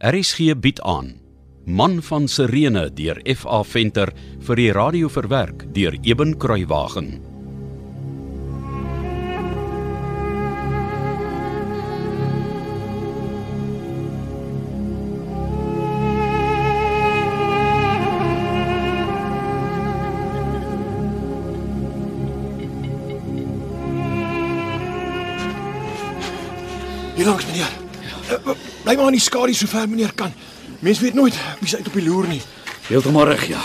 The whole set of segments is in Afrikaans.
RSG bied aan Man van Sirene deur F.A. Venter vir die radio verwerk deur Eben Kruiwagen. Hier langs meneer. Eh, Bly maar in die skadu so ver meneer kan. Mens weet nooit wie se uit op die loer nie. Heeltemal reg, ja.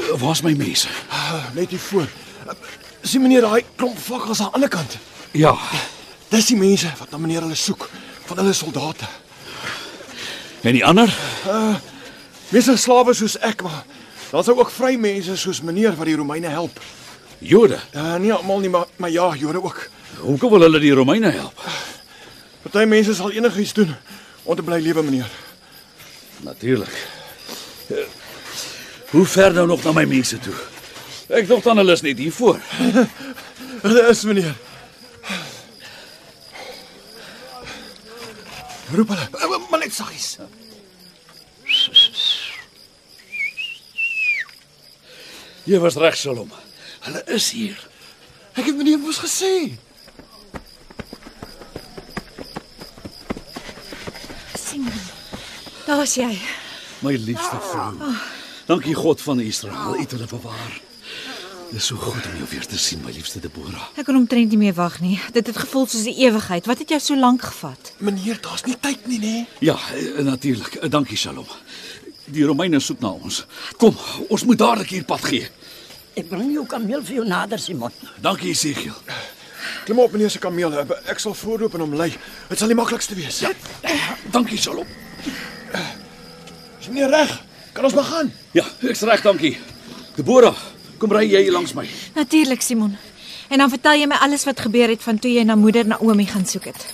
Eh, Waar's my mense? Ah, Net hier voor. Eh, Sien meneer daai klomp vakkels aan die ander kant. Ja. Dis die mense wat na meneer hulle soek van hulle soldate. En die ander? Meeste nou slawe soos ek, maar daar's ook vry mense soos meneer wat die Romeine help. Jode. Uh, nie almal nie, maar maar ja, Jode ook. Hoekom wil hulle die Romeine help? Party mense sal enigiets doen om te bly lewe meneer. Natuurlik. Eh, Hoe ver nou nog na my mense toe? Ek dink dan hulle is net hier voor. Dis meneer. Roep hulle. Eh, Maar net saggies. Jy was reg, Salom. Hulle is hier. Ek het meneer mos gesê. sien jy? Daar's jy. My liefste vrou. Dankie God van Israel, U het hulle bewaar. Dis so goed om jou weer te sien, my liefste Debora. Ek kon omtrent nie meer wag nie. Dit het gevoel soos 'n ewigheid. Wat het jou so lank gevat? Meneer, daar's nie tyd nie, nee. nê? Ja, eh, natuurlik. Eh, Dankie, Salom. Die Romeine soek na ons. Kom, ons moet dadelik hier pad gee. Ek bring jou kameel vir jou nader, Simon. Dankie, Esegiel. Klim op meneer se kameel. Eh, Ek sal voorloop en hom lei. Dit sal die maklikste wees. Ja. Dankie, Salom. Is meneer reg? Kan ons maar gaan? Ja, ek's reg, dankie. Debora, kom ry jy hier langs my. Natuurlik, Simon. En dan vertel jy my alles wat gebeur het van toe jy na moeder Naomi gaan soek het.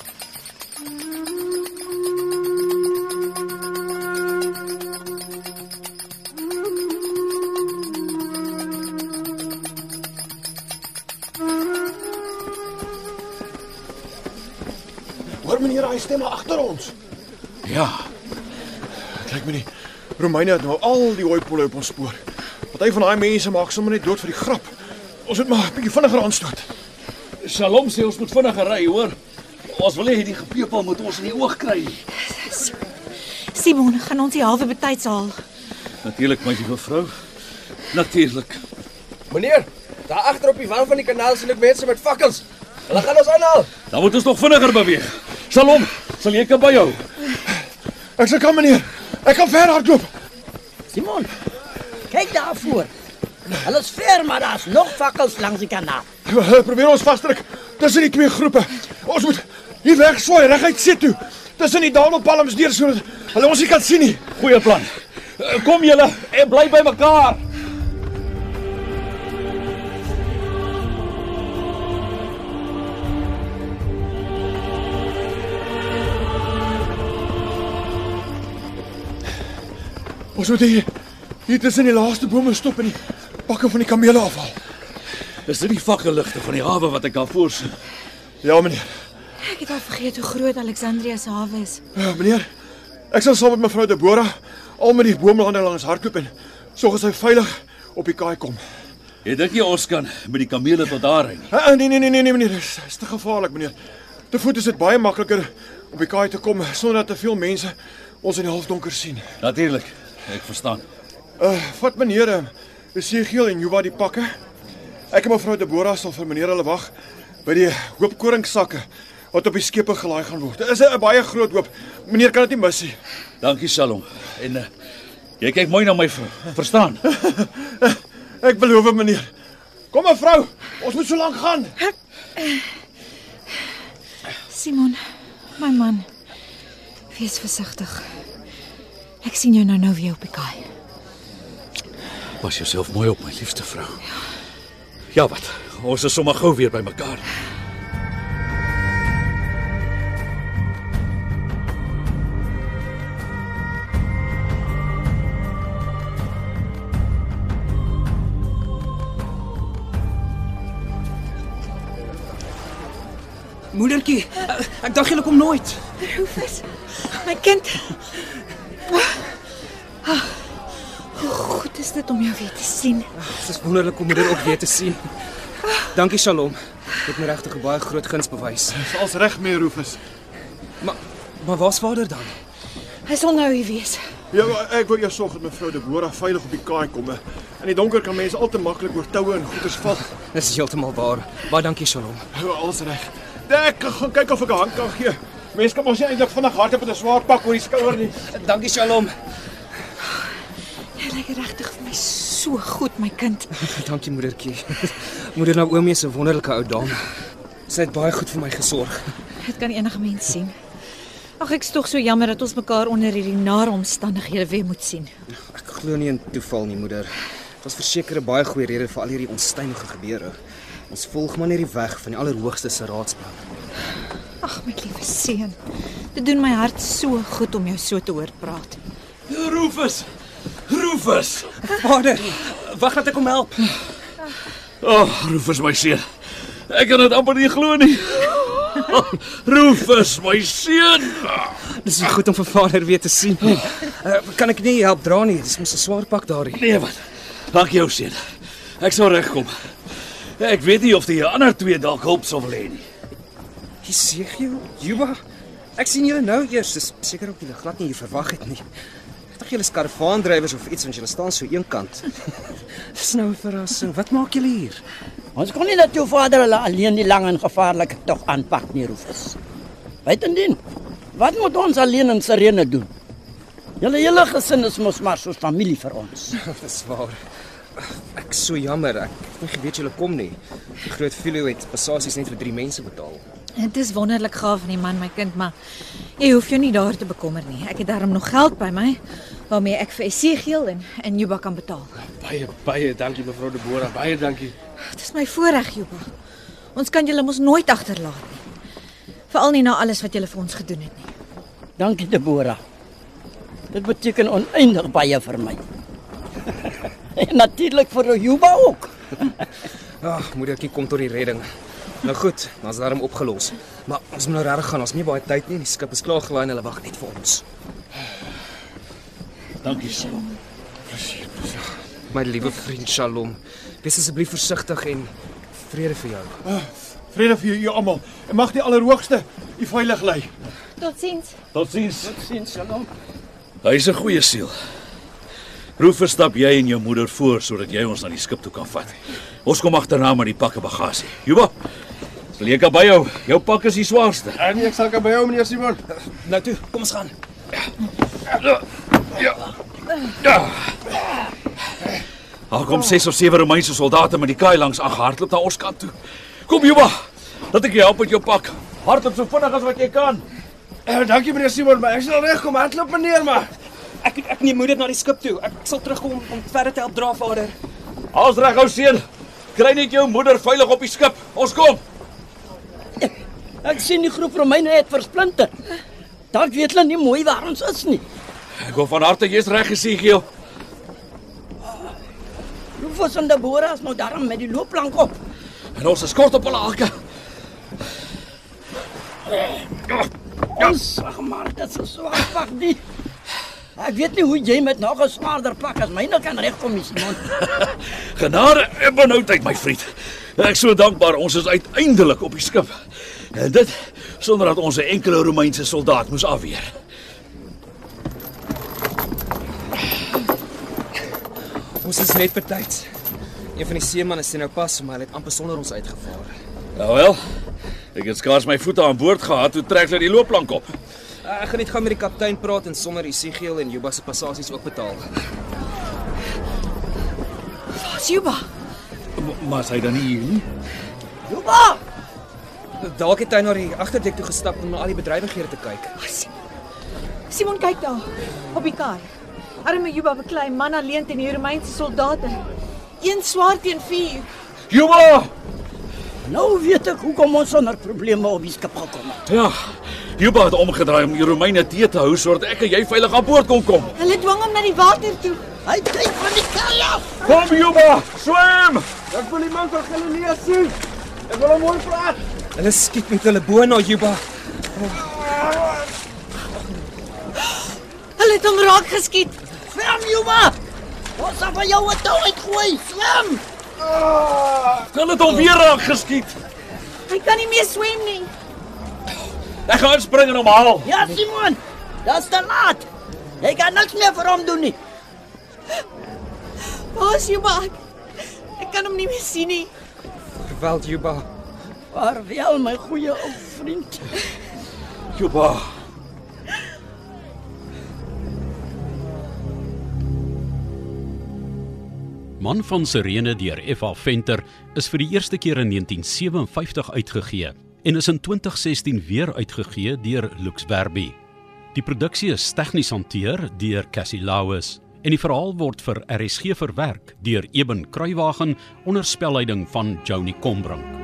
Hoor meneer, hy stem daar agter ons. Ja, Kyk meneer, Romeine het nou al die hooipolle op ons spoor. Party van daai mense maak sommer net dood vir die grap. Ons moet maar 'n bietjie vinniger aanstoot. Shalom sê ons moet vinniger ry, hoor. Ons wil nie hierdie gepeupel moet ons in die oog kry nie. Simon, gaan ons die halwe betyds haal. Natuurlik, my liewe vrou. Natuurlik. Meneer, daar agter op die wand van die kanaal sien ek mense met vakkels. Hulle gaan ons aanhaal. Dan moet ons nog vinniger beweeg. Shalom, sal jy kan by jou? Ek sê kan meneer. Ek kan ver hardloop. Simon, kyk daarvoor. Hulle is ver, maar daar's nog vakkels langs die kanaal. Hulle probeer ons vasdruk tussen die twee groepe. Ons moet hier wegswaai reguit see toe. Tussen die dadelpalms deur sodat hulle ons nie kan sien nie. Goeie plan. Eh, Kom julle en bly by mekaar. Ons moet hier hier tussen die laaste bome stop en die pakke van die kamele afhaal. Is dit die vakkeligte van die hawe wat ek daar voor sien? Ja meneer. Ek het al vergeet hoe groot Alexandrië se hawe is. Ja, meneer, ek sal saam met mevrou Debora al met die boomlande langs hardloop en sorg dat sy veilig op die kaai kom. Jy dink nie ons kan met die kamele tot daar ry nie. Ah, nee nee nee nee nee meneer, dis is te gevaarlik meneer. Te voet is dit baie makliker op die kaai te kom sonder dat te veel mense ons in die halfdonker sien. Natuurlik. Ek verstaan. Uh, vat meneer eh, Esegiel en Juba die pakke. Ek en mevrou Debora sal vir meneer hulle wag by die hoop koringsakke wat op die skepe gelaai gaan word. Dit is 'n baie groot hoop. Meneer kan dit nie mis nie. Dankie, Shalom. En uh, jy kyk mooi na my vrou. Verstaan? Ek beloof meneer. Kom mevrou, ons moet so lank gaan. Simon, my man. Wees versigtig. Ek sien jou nou nou weer op die kaai. Pas jouself mooi op, my liefste vrou. Ja, wat? Ons is sommer gou weer by mekaar. Moedertjie, eh, ek dink julle kom nooit. Rufus, my kind, Goed is dit om jou weer te sien. Dit is wonderlik om moeder ook weer te sien. Dankie Shalom. Jy het my regtig 'n baie groot guns bewys. Dis als reg meer Rufus. Maar maar waar's vader dan? Hy sal nou hier wees. Ja, maar ek wou eers sorg dat mevrou Debora veilig op die kaai kom. In die donker kan mense al te maklik oor toue en goeters val. Dis heeltemal waar. Baie dankie Shalom. Hou alles reg. Ek gaan kyk of ek 'n hand kan gee. Mense kan mos nie eintlik vinnig hardop met 'n swaar pak oor die skouer nie. Dankie Shalom. Jy lyk regtig vir my so goed, my kind. Dankie moedertjie. Moeder Naomi is 'n wonderlike ou dame. Sy het baie goed vir my gesorg. Dit kan enige mens sien. Ag ek's tog so jammer dat ons mekaar onder hierdie nare omstandighede weer moet sien. Ek glo nie in toeval nie moeder. Dit was verseker 'n baie goeie rede vir al hierdie onstuimige gebeure. Ons volg maar net die weg van die Allerhoogste se raadsplan. Ag my liewe seun. Dit doen my hart so goed om jou so te hoor praat. Rufus. Rufus. Vader, wag dat ek hom help. O, oh, Rufus my seun. Ek kan dit amper nie glo nie. Rufus my seun. Dis goed om vir vader weer te sien. Uh, kan ek nie help dra nie. Dis mos 'n swaar pak daardie. Nee wat. Dankie jou seun. Ek sal regkom. Ek weet nie of die ander twee dalk hulp sal wil hê nie. Jesegiel, Juba. Ek sien julle nou eers. Dis seker ook julle glad nie hier verwag het nie. Ek dink julle is karavaandrywers of iets want julle staan so eenkant. Dis nou 'n verrassing. Wat maak julle hier? Ons kon nie dat jou vader hulle alleen die lang en gevaarlike tog aanpak nie, Rufus. Buitendien, wat moet ons alleen in Sirene doen? Julle hele gesin is mos maar soos familie vir ons. Dis waar. Ek is so jammer. Ek het nie geweet julle kom nie. Die groot Filio het passasies net vir 3 mense betaal. Dit is wonderlik gaaf van die man, my kind, maar jy hoef jou nie daar te bekommer nie. Ek het daarom nog geld by my waarmee ek vir Esigiel en en Juba kan betaal. Baie baie dankie mevrou Debora. Baie dankie. Dit is my voorreg, Juba. Ons kan julle mos nooit agterlaat nie. Veral nie na alles wat julle vir ons gedoen het nie. Dankie, Debora. Dit beteken oneindig baie vir my. en natuurlik vir Juba ook. Ag, moedertjie kom tot die redding. Nou goed, ons het daarom opgelos. Maar ons moet nou regtig gaan. Ons het nie baie tyd nie. Die skip is klaar gelaai en hulle wag net vir ons. Dankie Shalom. My liewe vriend Shalom, wees asseblief versigtig en vrede vir jou. Vrede vir julle almal. En mag die Allerhoogste u veilig lei. Totsiens. Tot sins. Tot sins Shalom. Hy is 'n goeie siel. Rufus, stap jy en jou moeder voor sodat jy ons na die skip toe kan vat. Ons kom agterna met die pakke bagasie. Juba. Sal jy kan by jou. Jou pak is die swaarste. En Ah, nee, ek sal kan by jou meneer Simon. Ja. Nou toe, kom ons gaan. Daar kom 6 of 7 Romeinse soldate met die kaai langs aangehardloop na ons kant toe. Kom Juba. Laat ek jou help met jou pak. Hardloop so vinnig as wat jy kan. Eh, dankie meneer Simon, maar ek sal regkom. Hardloop meneer, maar Ek ek neem moeder na die skip toe. Ek, ek sal terugkom om, om verder te help dra vader. Haas reg ou seun. Kry net jou moeder veilig op die skip. Ons kom. Ek sien die groep Romeine het versplinter. Dalk weet hulle nie mooi waar ons is nie. Ek hoop van harte jy's reg Gesiegel. Rufus en Debora is nou daarom met die loopplank op. En ons is kort op hulle hakke. Ons ag man, dit is 'n swaar pak die. Ek weet nie hoe jy met nog 'n swaarder pak as myne kan regkom, nie, Simon. Genade en benoudheid my vriend. Ek is so dankbaar ons is uiteindelik op die skip. En dit sonder dat ons 'n enkele Romeinse soldaat moes afweer. Ons is net betyds. Een van die seemanne sien nou pas, maar hy het amper sonder ons uitgevaar. Nou wel. Ek het skaars my voete aan boord gehad toe trek hulle die loopplank op. Eh, Ek gaan net gaan met die kaptein praat en sommer Isigiel en Juba se passasies ook betaal. Waar's Ah, Juba? M- Maar is hy dan nie hier nie? Juba! Dalk het hy na die agterdek toe gestap om na al die bedrywighede te kyk. Ah, Simon. Simon kyk daar op die kaai. Arme Juba beklei man alleen teen die Romeinse soldate. Een swaard teen vier. Juba! Nou weet ek hoekom ons sonder probleme op die skip gekom het. Ja. Juba het omgedraai om die Romeine te te hou sodat ek en jy veilig aan boord kon kom. Hulle dwing hom na die water toe. Hy kyk van die kaai af. Kom Juba, swem! ek wil die man van Galilea sien. Ek wil hom mooi praat. Hulle skiet met hulle bo na Juba. Hulle Karel het hom raak geskiet. Swem, Juba! Ons sal vir jou 'n touw uitgooi. Swem! Kan dit hom weer raak geskiet? Hy kan nie meer swem nie. Ek gaan spring en hom haal. Ja, Simon. Dis te laat. Jy kan niks meer vir hom doen nie. Waar is Juba? Ek- Ek kan hom nie meer sien nie. Verweld Juba. Vaarwel my goeie ou vriend. Juba. Man van Sirene deur F.A. Venter is vir die eerste keer in 1957 uitgegee en is in 2016 weer uitgegee deur Lux Werby. Die produksie is tegnies hanteer deur Cassie Lauis en die verhaal word vir RSG verwerk deur Eben Kruiwagen onder spelleiding van Joni Combrink.